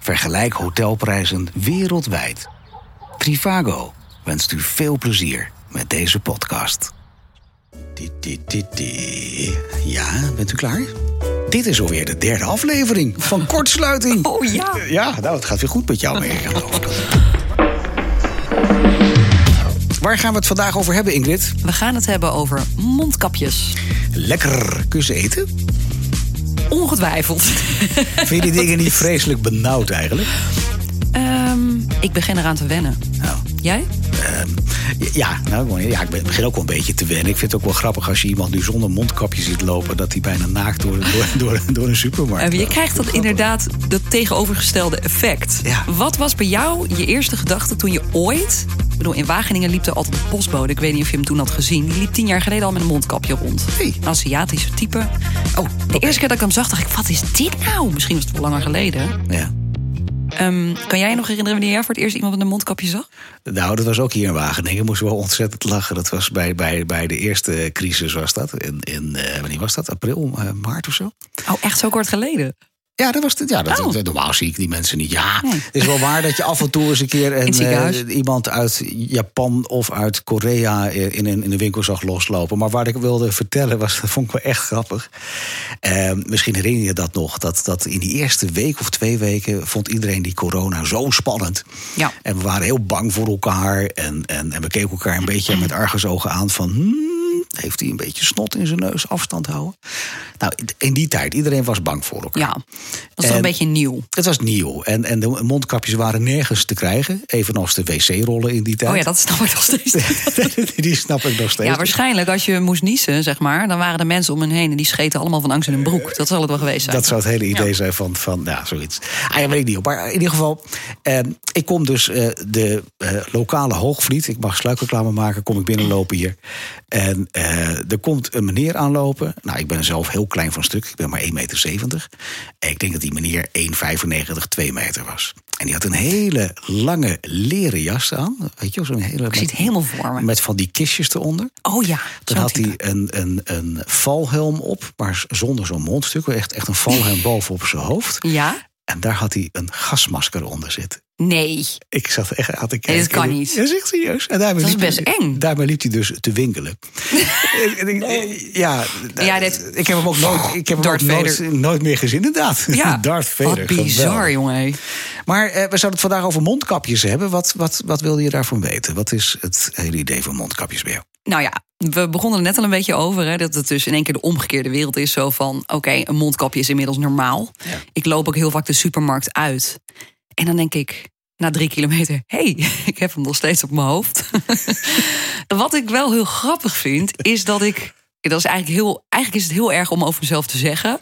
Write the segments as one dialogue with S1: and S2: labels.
S1: Vergelijk hotelprijzen wereldwijd. Trivago wenst u veel plezier met deze podcast. Ti, ti, ti, ti. Ja, bent u klaar? Dit is alweer de derde aflevering van Kortsluiting.
S2: Oh ja.
S1: Ja, nou, het gaat weer goed met jou, merk ik, geloof ik. Waar gaan we het vandaag over hebben, Ingrid?
S2: We gaan het hebben over mondkapjes.
S1: Lekker kussen eten?
S2: Ongetwijfeld.
S1: Vind je die dingen niet vreselijk benauwd eigenlijk?
S2: Ehm, ik begin eraan te wennen.
S1: Nou,
S2: Jij?
S1: ehm, ja, nou, ik wou- ja, ik ben- begin ook wel een beetje te wennen. Ik vind het ook wel grappig als je iemand nu zonder mondkapje ziet lopen... dat hij bijna naakt door, door, door, door een supermarkt
S2: Eh, je
S1: loopt.
S2: krijgt dat inderdaad dat tegenovergestelde effect.
S1: Ja.
S2: Wat was bij jou je eerste gedachte toen je ooit... Ik bedoel, in Wageningen liep er altijd een postbode. Ik weet niet of je hem toen had gezien. Die liep tien jaar geleden al met een mondkapje rond.
S1: Hey.
S2: Een Aziatische type.
S1: Oh,
S2: De eerste keer dat ik hem zag, dacht ik, wat is dit nou? Misschien was het wel langer geleden.
S1: ja.
S2: Ehm, kan jij je nog herinneren wanneer jij voor het eerst iemand met een mondkapje zag?
S1: Nou, dat was ook hier in Wageningen. Moesten we wel ontzettend lachen. Dat was bij, bij, bij de eerste crisis was dat. In, in eh, wanneer was dat? April, eh, maart of zo?
S2: Oh, echt zo kort geleden?
S1: Ja, dat was het. Ja, dat,
S2: Oh.
S1: Normaal zie ik die mensen niet. Ja, het is wel waar dat je af en toe eens een keer een,
S2: het ziekenhuis.
S1: eh, iemand uit Japan of uit Korea eh, in een, in een winkel zag loslopen. Maar wat ik wilde vertellen was, dat vond ik wel echt grappig. Eh, misschien herinner je dat nog, dat, dat in die eerste week of twee weken vond iedereen die corona zo spannend.
S2: Ja.
S1: En we waren heel bang voor elkaar. En, en, en we keken elkaar een beetje met argusogen aan van... "Hmm, heeft hij een beetje snot in zijn neus, afstand houden? Nou, in die tijd, iedereen was bang voor elkaar.
S2: Ja, dat is toch
S1: En-
S2: een beetje nieuw.
S1: Het was nieuw. En, en de mondkapjes waren nergens te krijgen. Evenals de wc-rollen in die tijd.
S2: Oh ja, dat snap ik nog steeds. niet.
S1: die snap ik nog steeds.
S2: Ja, waarschijnlijk als je moest niezen, zeg maar, dan waren de mensen om hen heen en die scheten allemaal van angst in hun broek. Dat zal het wel geweest zijn.
S1: Eh, Dat zou het hele idee zijn van, van ja, zoiets. Ah, ja, weet ik niet op. Maar in ieder geval, eh, ik kom dus eh, de eh, lokale Hoogvliet. Ik mag sluikreclame maken, kom ik binnenlopen hier. En eh, er komt een meneer aanlopen. Nou, ik ben zelf heel klein van stuk. Ik ben maar 1,70 meter. En ik denk dat die meneer 1,95, 2 meter was. En die had een hele lange leren jas aan. Weet je, wel, zo'n hele...
S2: Ik zie het helemaal voor me.
S1: Met van die kistjes eronder.
S2: Oh ja,
S1: Dan
S2: zo'n
S1: had
S2: type.
S1: hij een, een, een valhelm op, maar z- zonder zo'n mondstuk. Echt, echt een valhelm bovenop zijn hoofd.
S2: Ja?
S1: En daar had hij een gasmasker onder zitten.
S2: Nee.
S1: Ik zat echt aan te kijken.
S2: Nee, dit kan niet.
S1: Dat is echt serieus. En daarmee
S2: Dat is
S1: liep
S2: best
S1: hij,
S2: eng.
S1: Daarmee liep hij dus te winkelen. En ik- ja, eh,
S2: Ja, dit-
S1: ik heb hem ook nooit, ik heb hem ook
S2: Darth
S1: nooit,
S2: Vader.
S1: nooit meer gezien, inderdaad.
S2: Ja.
S1: Darth Vader,
S2: Wat bizar,
S1: geweldig.
S2: jongen. hé.
S1: Maar eh, we zouden het vandaag over mondkapjes hebben. Wat, wat, wat wilde je daarvan weten? Wat is het hele idee van mondkapjes bij jou?
S2: Nou ja, we begonnen er net al een beetje over. Hè, dat het dus in één keer de omgekeerde wereld is. Zo van, oké, een mondkapje is inmiddels normaal. Ik loop ook heel vaak de supermarkt uit. En dan denk ik, na drie kilometer... hé, hey, ik heb hem nog steeds op mijn hoofd. Wat ik wel heel grappig vind, is dat ik... Dat is eigenlijk, heel, eigenlijk is het heel erg om over mezelf te zeggen.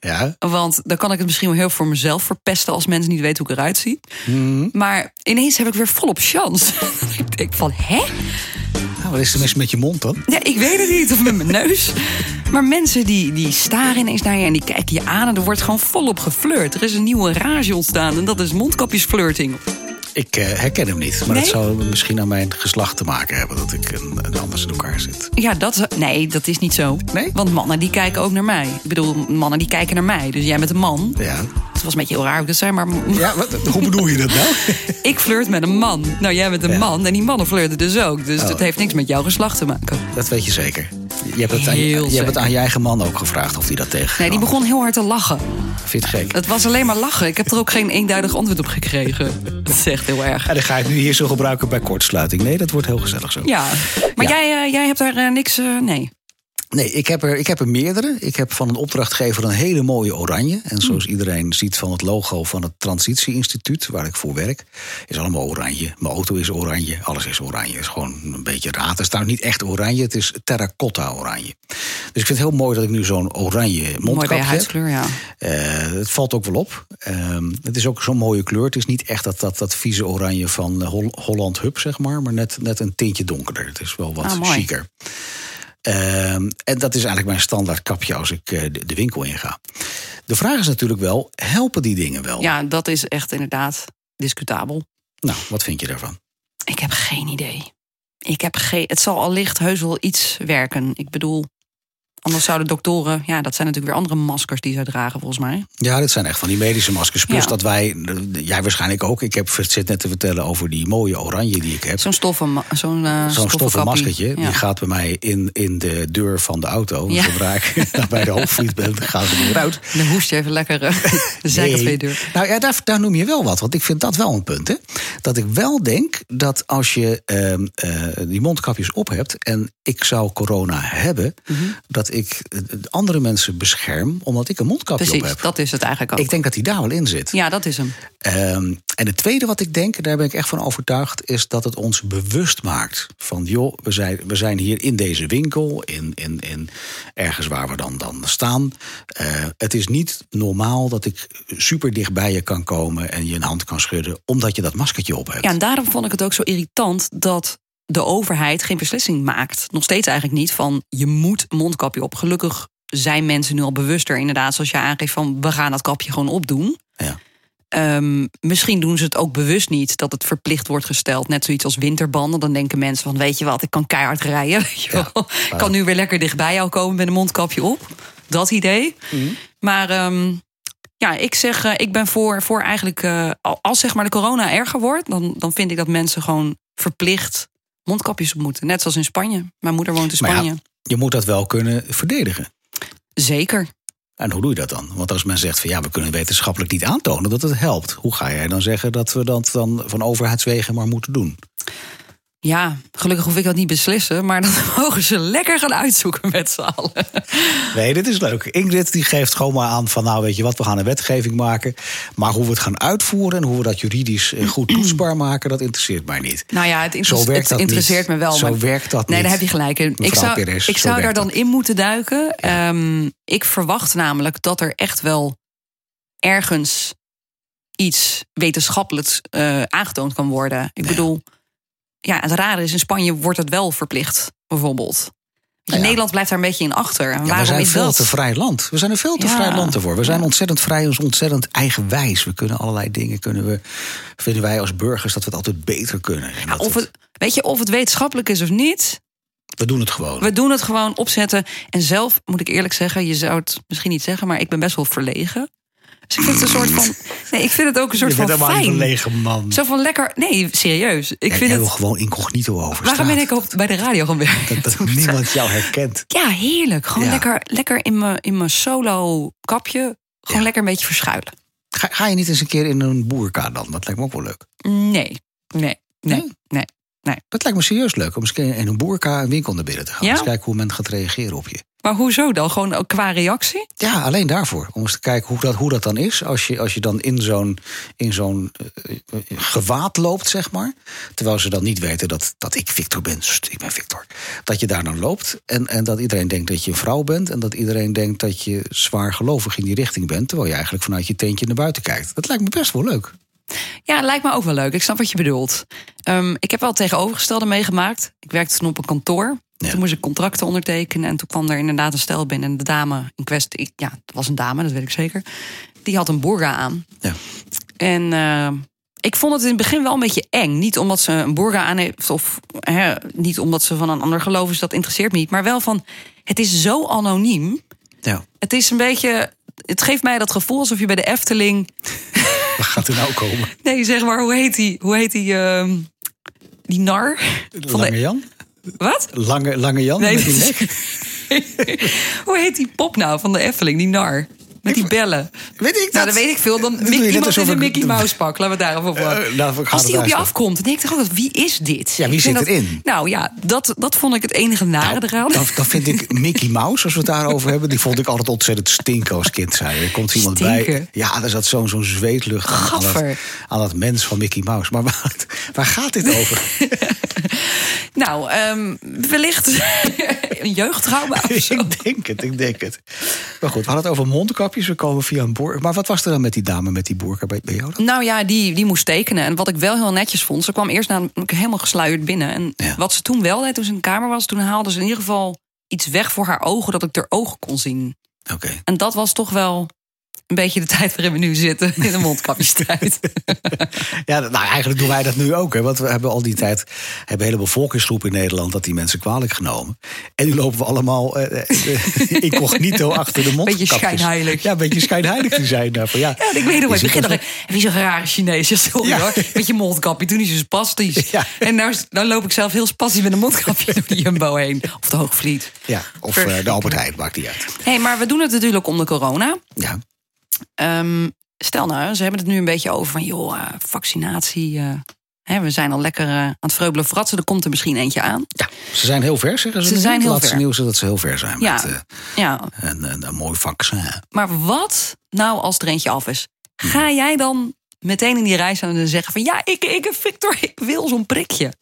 S1: Ja,
S2: Want dan kan ik het misschien wel heel voor mezelf verpesten... als mensen niet weten hoe ik eruit zie. Maar ineens heb ik weer volop chance. ik denk van, hè? Oh.
S1: nou, wat is er mis met je mond dan?
S2: Ja, ik weet het niet, of met mijn neus. Maar mensen die, die staren ineens naar je en die kijken je aan... en er wordt gewoon volop geflirt. Er is een nieuwe rage ontstaan en dat is mondkapjesflirting.
S1: Ik eh, herken hem niet, maar dat
S2: Nee?
S1: zou misschien aan mijn geslacht te maken hebben dat ik een, een anders in elkaar zit.
S2: Ja, dat, is- nee, dat is niet zo.
S1: Nee?
S2: Want mannen die kijken ook naar mij. Ik bedoel, mannen die kijken naar mij. Dus jij bent een man.
S1: Ja,
S2: Het was een beetje heel raar hoe ik dat zei, maar
S1: ja wat, hoe bedoel je dat nou?
S2: ik flirt met een man. Nou, jij bent een man en die mannen flirten dus ook. Dus
S1: Oh.
S2: het heeft niks met jouw geslacht te maken.
S1: dat weet je zeker. Je hebt, het aan,
S2: Heel
S1: je hebt het
S2: zeker.
S1: aan je eigen man ook gevraagd of hij dat tegen.
S2: Nee, die
S1: kan.
S2: begon heel hard te lachen.
S1: Vind je het gek.
S2: Het was alleen maar lachen. Ik heb er ook geen eenduidig antwoord op gekregen. Dat is echt heel erg.
S1: En dan ga ik nu hier zo gebruiken bij kortsluiting. Nee, dat wordt heel gezellig zo.
S2: Ja, maar Jij, eh, jij hebt daar eh, niks. eh, nee.
S1: Nee, ik heb, er, ik heb er meerdere. Ik heb van een opdrachtgever een hele mooie oranje. En zoals iedereen ziet van het logo van het Transitieinstituut, waar ik voor werk, is allemaal oranje. Mijn auto is oranje, alles is oranje. Het is gewoon een beetje raar. Het is nou niet echt oranje, het is terracotta oranje. Dus ik vind het heel mooi dat ik nu zo'n oranje
S2: Mooi bij
S1: mondkapje
S2: je
S1: heb.
S2: huidskleur, ja.
S1: Eh, het valt ook wel op. Ehm, het is ook zo'n mooie kleur. Het is niet echt dat, dat, dat vieze oranje van eh, Hol- Holland Hub, zeg maar. Maar net, net een tintje donkerder. Het is wel wat
S2: Ah, mooi.
S1: chiquer. Ehm, en dat is eigenlijk mijn standaard kapje als ik eh, de, de winkel inga. De vraag is natuurlijk wel, helpen die dingen wel?
S2: Ja, dat is echt inderdaad discutabel.
S1: Nou, wat vind je daarvan?
S2: Ik heb geen idee. Ik heb geen. Het zal allicht heus wel iets werken. Ik bedoel, Anders zouden doktoren, ja, dat zijn natuurlijk weer andere maskers die zij dragen, volgens mij.
S1: Ja, dit zijn echt van die medische maskers. Plus
S2: Ja.
S1: dat wij, eh, jij waarschijnlijk ook, ik heb, zit net te vertellen over die mooie oranje die ik heb.
S2: Zo'n stoffen, ma- zo'n eh,
S1: Zo'n stoffen
S2: stoffenkappie.
S1: maskertje,
S2: Ja.
S1: die gaat bij mij in, in de deur van de auto.
S2: Ja.
S1: Zodra ik daar bij de hoofdvliet ben, dan gaat het weer uit.
S2: Dan hoest je even lekker eh, de zijkant
S1: Nee.
S2: van je deur.
S1: Nou ja, daar, daar noem je wel wat. Want ik vind dat wel een punt. Hè? Dat ik wel denk dat als je ehm, eh, die mondkapjes op hebt. en ik zou corona hebben.
S2: Mhm.
S1: dat ik eh, andere mensen bescherm. omdat ik een mondkapje op
S2: Precies,
S1: heb.
S2: dat is het eigenlijk ook.
S1: Ik denk dat die daar wel in zit.
S2: Ja, dat is hem.
S1: Ehm, en het tweede wat ik denk, daar ben ik echt van overtuigd, is dat het ons bewust maakt. Van joh, we zijn, we zijn hier in deze winkel, in, in, in ergens waar we dan, dan staan. Eh, het is niet normaal dat ik super dicht bij je kan komen en je een hand kan schudden, omdat je dat maskertje op hebt.
S2: Ja, en daarom vond ik het ook zo irritant dat de overheid geen beslissing maakt. Nog steeds eigenlijk niet van je moet mondkapje op. Gelukkig zijn mensen nu al bewuster, inderdaad, zoals je aangeeft van we gaan dat kapje gewoon opdoen.
S1: Ja.
S2: Ehm, misschien doen ze het ook bewust niet dat het verplicht wordt gesteld. Net zoiets als winterbanden. Dan denken mensen van weet je wat, ik kan keihard rijden. weet je wel. Ik kan nu weer lekker dichtbij jou komen met een mondkapje op. Dat idee. Maar ehm, ja, ik zeg, eh, ik ben voor, voor eigenlijk, eh, al- als zeg maar de corona erger wordt, dan, dan vind ik dat mensen gewoon verplicht mondkapjes op moeten. Net zoals in Spanje. Mijn moeder woont in
S1: Maar ja.
S2: Spanje.
S1: Je moet dat wel kunnen verdedigen.
S2: Zeker.
S1: En hoe doe je dat dan? Want als men zegt van ja, we kunnen wetenschappelijk niet aantonen dat het helpt. Hoe ga jij dan zeggen dat we dat dan van overheidswegen maar moeten doen?
S2: Ja, gelukkig hoef ik dat niet beslissen, maar dan mogen ze lekker gaan uitzoeken met z'n allen.
S1: Nee, dit is leuk. Ingrid die geeft gewoon maar aan van nou weet je wat, we gaan een wetgeving maken. Maar hoe we het gaan uitvoeren en hoe we dat juridisch eh, goed toetsbaar maken, dat interesseert mij niet.
S2: Nou ja, het, inter-
S1: Zo werkt
S2: het
S1: dat
S2: interesseert
S1: niet.
S2: me wel.
S1: Zo
S2: maar-
S1: werkt dat
S2: Nee,
S1: niet.
S2: daar heb je gelijk in. Ik
S1: Mevrouw
S2: zou,
S1: Perez,
S2: ik
S1: zo
S2: zou daar
S1: werkt
S2: dan in moeten duiken. Ehm, ik verwacht namelijk dat er echt wel ergens iets wetenschappelijks eh, aangetoond kan worden. Ik bedoel, ja, het rare is, in Spanje wordt het wel verplicht, bijvoorbeeld.
S1: Nou ja.
S2: Nederland blijft daar een beetje in achter. En
S1: Ja, we
S2: waarom
S1: zijn
S2: is
S1: veel
S2: dat?
S1: te vrij land. We zijn een veel te
S2: Ja.
S1: vrij land ervoor. We zijn ontzettend vrij, ons ontzettend eigenwijs. We kunnen allerlei dingen, kunnen we, vinden wij als burgers dat we het altijd beter kunnen. En
S2: Ja,
S1: dat
S2: of
S1: het-
S2: het, weet je, of het wetenschappelijk is of niet,
S1: we doen het gewoon.
S2: We doen het gewoon opzetten. En zelf moet ik eerlijk zeggen, je zou het misschien niet zeggen, maar ik ben best wel verlegen. Dus ik vind het een soort van. Nee, ik vind het ook een soort
S1: je bent
S2: van
S1: helemaal niet
S2: fijn.
S1: verlegen man.
S2: Zo van lekker. Nee, serieus. Ik
S1: ik
S2: vind
S1: wil
S2: het.
S1: gewoon incognito over
S2: Waarom ben
S1: straat.
S2: ik op, bij de radio gaan werken?
S1: Dat niemand jou herkent.
S2: Ja, heerlijk. Gewoon
S1: Ja.
S2: lekker, lekker in mijn in mijn solo kapje. Gewoon
S1: Ja.
S2: lekker een beetje verschuilen.
S1: Ga, ga je niet eens een keer in een boerka dan? Dat lijkt me ook wel leuk.
S2: Nee, nee,
S1: Hm.
S2: nee, nee.
S1: Dat lijkt me serieus leuk om eens een keer in een boerka een winkel naar binnen te gaan.
S2: Ja?
S1: Eens kijken hoe men gaat reageren op je.
S2: Maar hoezo dan? Gewoon ook qua reactie?
S1: Ja, alleen daarvoor. Om eens te kijken hoe dat, hoe dat dan is. Als je, als je dan in zo'n in zo'n eh, eh, gewaad loopt, zeg maar. Terwijl ze dan niet weten dat, dat ik Victor ben. Sst, ik ben Victor. Dat je daar dan loopt. En, en dat iedereen denkt dat je een vrouw bent. En dat iedereen denkt dat je zwaar gelovig in die richting bent. Terwijl je eigenlijk vanuit je teentje naar buiten kijkt. Dat lijkt me best wel leuk.
S2: Ja, lijkt me ook wel leuk. Ik snap wat je bedoelt. Ehm, ik heb wel het tegenovergestelde meegemaakt. Ik werkte toen op een kantoor.
S1: Ja.
S2: Toen moest ik contracten ondertekenen. En toen kwam er inderdaad een stel binnen. En de dame in kwestie, ik- ja, het was een dame, dat weet ik zeker. Die had een burga aan.
S1: Ja.
S2: En eh, ik vond het in het begin wel een beetje eng. Niet omdat ze een burga aan heeft of hè, niet omdat ze van een ander geloof is. Dat interesseert me niet. Maar wel van, het is zo anoniem.
S1: Ja.
S2: Het is een beetje, het geeft mij dat gevoel alsof je bij de Efteling
S1: Wat gaat er nou komen?
S2: Nee, zeg maar, hoe heet die? Hoe heet die? ehm, die nar? Van
S1: Lange
S2: de,
S1: Jan?
S2: wat?
S1: Lange, lange Jan
S2: Nee,
S1: met die
S2: dat
S1: nek?
S2: is- hoe heet die pop nou van de Efteling? Die nar. Met die bellen.
S1: Weet ik dat?
S2: Nou, dat weet ik veel. Dan
S1: doe je
S2: Mick-
S1: net
S2: iemand
S1: alsof
S2: in een
S1: ik-
S2: Mickey Mouse pak. Laten we het daarover
S1: Eh, nou, we
S2: hebben.
S1: gaan
S2: Als
S1: het
S2: die op je
S1: luisteren.
S2: afkomt, dan denk ik toch altijd, wie is dit?
S1: Ja, wie
S2: Ik vind
S1: zit
S2: dat-
S1: erin? Nou,
S2: Nou ja, dat, dat vond ik het enige nare eraan.
S1: Dan, dan vind ik Mickey Mouse, als we het daarover hebben... die vond ik altijd ontzettend stinken als kind, zei je. Er komt iemand bij.
S2: Stinken?
S1: Ja, er zat zo'n zo'n zweetlucht aan, aan, dat,
S2: Gaffer.
S1: aan dat mens van Mickey Mouse. Maar waar, waar gaat dit over?
S2: Nou, ehm, wellicht een jeugdtrauma of zo.
S1: ik denk het, ik denk het. Maar goed, we hadden het over mondkapjes. We komen via een boer. Maar wat was er dan met die dame met die boerka bij, bij jou dan?
S2: Nou ja, die, die moest tekenen. En wat ik wel heel netjes vond, ze kwam eerst namelijk helemaal gesluierd binnen. En
S1: Ja.
S2: wat ze toen wel deed toen ze in de kamer was, toen haalde ze in ieder geval iets weg voor haar ogen, dat ik haar ogen kon zien.
S1: Oké.
S2: En dat was toch wel een beetje de tijd waarin we nu zitten in de mondkapjestijd.
S1: Ja, nou eigenlijk doen wij dat nu ook. Hè? Want we hebben al die tijd hebben een hele bevolkingsgroep in Nederland dat die mensen kwalijk genomen. En nu lopen we allemaal eh, eh, incognito achter de mondkapjes.
S2: schijnheilig.
S1: Ja, een beetje schijnheilig te zijn daarvoor. Ja,
S2: Ja, ik weet nog wel,
S1: Je
S2: ik
S1: ziet
S2: begin nog.
S1: ons-
S2: Heb je zo'n rare Chinees? Ja, sorry
S1: Ja.
S2: hoor. Met je mondkapje, toen is je spastisch.
S1: Ja.
S2: En nou, is- nou loop ik zelf heel spastisch met een mondkapje door die Jumbo heen. Of de Hoogvliet.
S1: Ja, of eh, de Albert Heijn, maakt niet uit.
S2: hey, maar we doen het natuurlijk om de corona.
S1: Ja,
S2: Ehm, stel nou, ze hebben het nu een beetje over van... joh, eh, vaccinatie, eh, hè, we zijn al lekker eh, aan het vreubelen fratsen. Er komt er misschien eentje aan.
S1: ja. ze zijn heel ver, zeggen ze.
S2: Ze
S1: nu.
S2: zijn
S1: Het
S2: heel
S1: laatste
S2: ver.
S1: nieuws is dat ze heel ver zijn
S2: Ja.
S1: met eh,
S2: Ja,
S1: een, een, een mooi vaccin.
S2: maar wat nou als er eentje af is? Ga jij dan meteen in die rij staan en zeggen van... ja, ik, ik, Victor, ik wil zo'n prikje.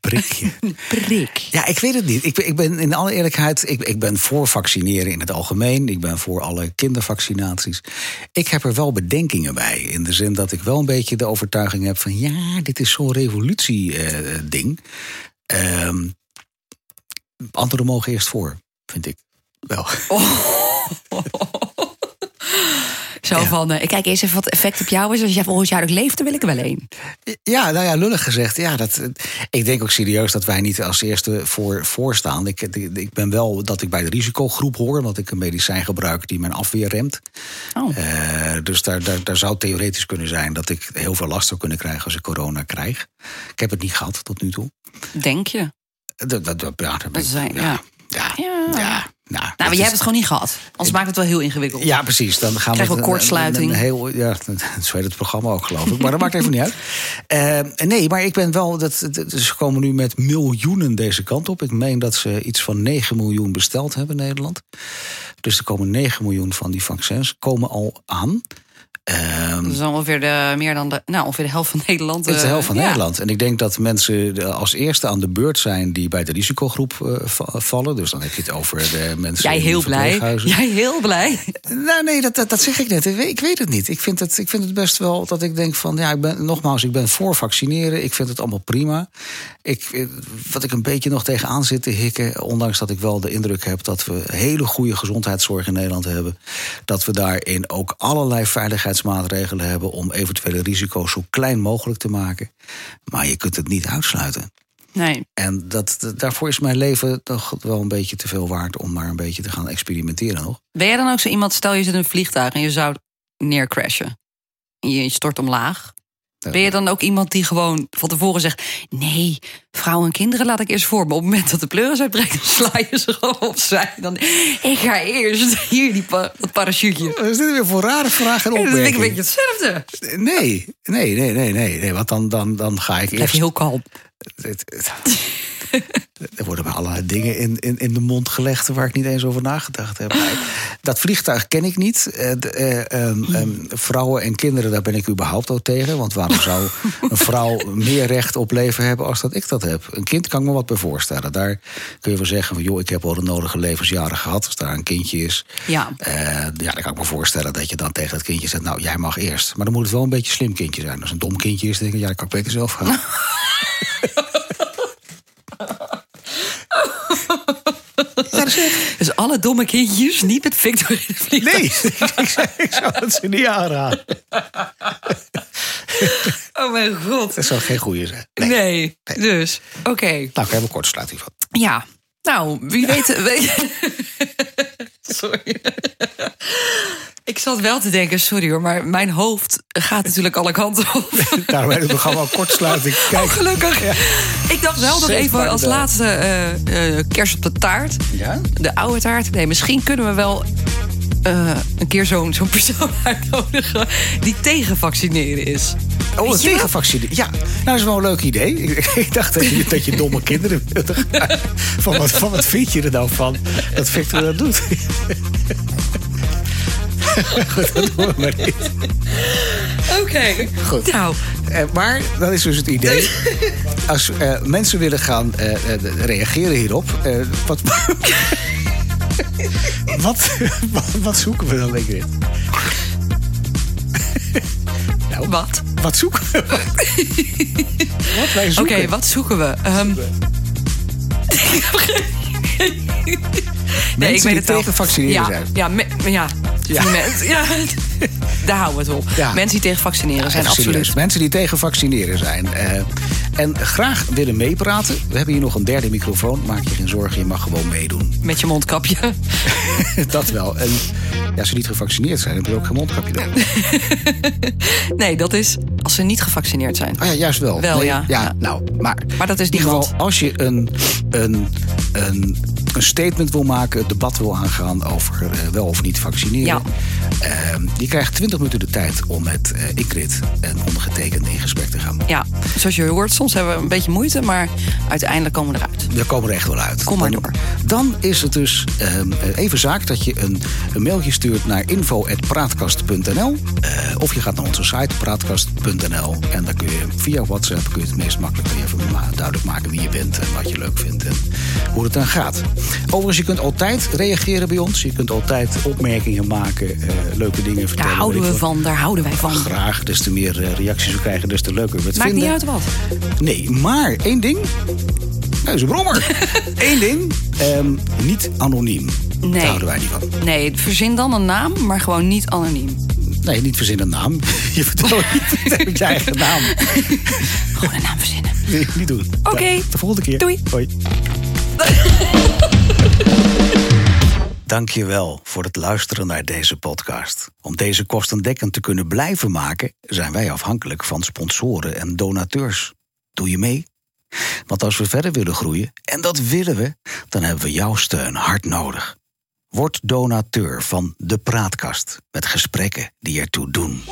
S1: Prikje.
S2: Prik.
S1: Ja, ik weet het niet. Ik, ben- ik ben in alle eerlijkheid, ik, ik ben voor vaccineren in het algemeen. Ik ben voor alle kindervaccinaties. Ik heb er wel bedenkingen bij. In de zin dat ik wel een beetje de overtuiging heb van ja, dit is zo'n revolutie-ding. Ehm, anderen mogen eerst voor, vind ik. Wel.
S2: Zo van, eh, ik kijk eerst even wat effect op jou is. Als jij volgend jaar nog leeft, dan wil ik er wel een.
S1: Ja, nou ja, lullig gezegd. Ja, dat, ik denk ook serieus dat wij niet als eerste voor, voor staan. Ik, ik ben wel dat ik bij de risicogroep hoor, omdat ik een medicijn gebruik die mijn afweer remt.
S2: Oh.
S1: Eh, dus daar, daar, daar zou theoretisch kunnen zijn dat ik heel veel last zou kunnen krijgen als ik corona krijg. Ik heb het niet gehad tot nu toe. Eh,
S2: Denk je?
S1: Dat, dat, dat- ja, dat ben
S2: Dat
S1: ik-
S2: zijn, ja.
S1: ja. Ja.
S2: Ja.
S1: ja, nou, dat
S2: Nou, maar
S1: is-
S2: jij hebt het gewoon niet gehad. Anders maakt het wel heel ingewikkeld.
S1: ja, precies. Dan gaan
S2: Krijgen
S1: we
S2: we
S1: een-
S2: kortsluiting.
S1: een- een heel, ja, zo heet het programma ook, geloof ik. Maar dat maakt even niet uit. Eh, nee, maar ik ben wel. Dat, dat- ze komen nu met miljoenen deze kant op. Ik meen dat ze iets van 9 miljoen besteld hebben in Nederland. Dus er komen 9 miljoen van die vaccins komen al aan. Ehm,
S2: Dat is dan ongeveer de, meer dan de, nou, ongeveer de helft van Nederland.
S1: het is de
S2: eh,
S1: helft van
S2: ja.
S1: Nederland. En ik denk dat mensen de- als eerste aan de beurt zijn die bij de risicogroep eh, va- vallen. Dus dan heb je het over de mensen.
S2: Jij
S1: in
S2: heel
S1: de
S2: blij.
S1: verpleeghuizen.
S2: Jij heel blij.
S1: Nou, nee, dat, dat, dat zeg ik net. Ik weet, ik weet het niet. Ik vind het, ik vind het best wel dat ik denk van, ja, ik ben, nogmaals, ik ben voor vaccineren. Ik vind het allemaal prima. Ik, eh, wat ik een beetje nog tegenaan zit te hikken, ondanks dat ik wel de indruk heb dat we hele goede gezondheidszorg in Nederland hebben. Dat we daarin ook allerlei veiligheidsmaatregelen hebben om eventuele risico's zo klein mogelijk te maken. Maar je kunt het niet uitsluiten.
S2: Nee.
S1: En dat, dat- daarvoor is mijn leven toch wel een beetje te veel waard om maar een beetje te gaan experimenteren nog.
S2: Ben jij dan ook zo iemand, stel je zit in een vliegtuig en je zou neercrashen. En je stort omlaag. Ben je dan ook iemand die gewoon van tevoren zegt... nee, vrouwen en kinderen laat ik eerst voor. Maar op het moment dat de pleuris uitbreekt, dan sla je ze gewoon opzij. Dan, ik ga eerst hier die pa- dat parachuteje.
S1: Wat is dit Nou, weer voor rare vraag en
S2: En dan
S1: opmerking?
S2: denk ik een beetje hetzelfde.
S1: Nee, nee, nee, nee, nee. nee want dan, dan, dan ga ik
S2: Blijf
S1: eerst...
S2: je heel kalm.
S1: Het- het- Er worden me allerlei dingen in, in, in de mond gelegd... waar ik niet eens over nagedacht heb. Dat vliegtuig ken ik niet. Eh, d- eh, ehm, ehm, vrouwen en kinderen, daar ben ik überhaupt ook tegen. Want waarom zou een vrouw meer recht op leven hebben... als dat ik dat heb? Een kind kan ik me wat bij voorstellen. Daar kun je wel zeggen van... joh, ik heb al de nodige levensjaren gehad. Als daar een kindje is...
S2: Ja.
S1: Eh, ja, dan kan ik me voorstellen dat je dan tegen dat kindje zegt... nou, jij mag eerst. Maar dan moet het wel een beetje een slim kindje zijn. Als een dom kindje is, dan denk ik... ja, dan kan ik beter zelf gaan.
S2: Dus alle domme kindjes, niet met Victor in het vliegtuig.
S1: Nee, ik, zou- ik zou het ze niet aanraden.
S2: Oh mijn god.
S1: Dat zou geen goeie zijn.
S2: Nee. Dus, oké.
S1: Nou, ik heb een kortsluiting van.
S2: Ja. Nou, wie weet... we- sorry. Ik zat wel te denken, sorry hoor, maar mijn hoofd gaat natuurlijk alle kanten op.
S1: Daarom heb ik het programma ook kortsluiting.
S2: Oh,
S1: Kijk.
S2: gelukkig. Ik dacht wel nog
S1: Zeg maar
S2: even als
S1: de-
S2: laatste eh, eh, kerst op de taart.
S1: Ja?
S2: De oude taart. Nee, misschien kunnen we wel eh, een keer zo'n zo'n persoon uitnodigen die tegen vaccineren is.
S1: Oh, een
S2: Weet je wel?
S1: tegenvaccinatie. Ja, nou, dat is wel een leuk idee. Ik, ik dacht dat je, dat je domme kinderen wilde gaan. Van wat, van wat vind je er nou van dat Victor dat doet? Goed, dat doen we maar niet.
S2: Oké.
S1: Goed.
S2: Nou,
S1: Eh, maar dat is dus het idee. Als eh, mensen willen gaan eh, eh, reageren hierop, eh, wat, wat, wat, wat zoeken we dan, Ingrid? nou,
S2: wat?
S1: wat zoeken we? wat wij
S2: Oké,
S1: zoeken.
S2: wat zoeken we? Ehm, nee,
S1: Mensen die
S2: het wel.
S1: tegen vaccineren
S2: ja,
S1: zijn.
S2: Ja, me- ja, Ja. Die mensen, ja. Daar houden we het op.
S1: Ja.
S2: Mensen die tegen vaccineren zijn
S1: Even serieus.
S2: absoluut.
S1: Mensen die tegen vaccineren zijn. eh, en graag willen meepraten. We hebben hier nog een derde microfoon. Maak je geen zorgen, je mag gewoon meedoen.
S2: Met je mondkapje.
S1: dat wel. En ja, als ze niet gevaccineerd zijn, hebben ze ook geen mondkapje. Dan.
S2: Nee, dat is als ze niet gevaccineerd zijn.
S1: Ah ja, juist wel.
S2: Wel, ja. Ja.
S1: nou, maar...
S2: Maar dat is
S1: in ieder
S2: niemand.
S1: geval, als je een, een, een, een statement wil maken... het debat wil aangaan over eh, wel of niet vaccineren...
S2: Ja.
S1: ehm, je krijgt 20 minuten de tijd om met eh Ikrit en ondergetekende in gesprek te gaan.
S2: Ja, zoals je hoort, soms hebben we een beetje moeite, maar uiteindelijk komen we eruit.
S1: We komen er echt wel uit.
S2: Kom maar
S1: Dan-
S2: door.
S1: Dan is het dus ehm, even zaak dat je een, een mailtje stuurt naar info.praatkast.nl. Eh, of je gaat naar onze site praatkast.nl. En dan kun je via WhatsApp kun je het meest makkelijk even ma- duidelijk maken wie je bent en wat je leuk vindt en hoe het dan gaat. Overigens, je kunt altijd reageren bij ons. Je kunt altijd opmerkingen maken, eh, leuke dingen vertellen.
S2: Daar houden
S1: weet
S2: we
S1: ik wat.
S2: van, daar houden wij van.
S1: Graag, des te meer eh, reacties we krijgen, des te leuker we het
S2: Maakt
S1: vinden.
S2: niet uit wat.
S1: Nee, maar één ding. Hij is een brommer. Eén ding. ehm, niet anoniem.
S2: Nee.
S1: Daar houden wij niet van.
S2: Nee, verzin dan een naam, maar gewoon niet anoniem.
S1: Nee, niet verzinnen een naam. Je vertelt niet je eigen naam.
S2: Gewoon een naam verzinnen.
S1: Nee, niet doen.
S2: Oké.
S1: Nou, de volgende keer.
S2: Doei.
S1: Hoi. Dankjewel voor het luisteren naar deze podcast. Om deze kostendekkend te kunnen blijven maken, zijn wij afhankelijk van sponsoren en donateurs. Doe je mee? Want als we verder willen groeien, en dat willen we, dan hebben we jouw steun hard nodig. Word donateur van De Praatkast met gesprekken die ertoe doen.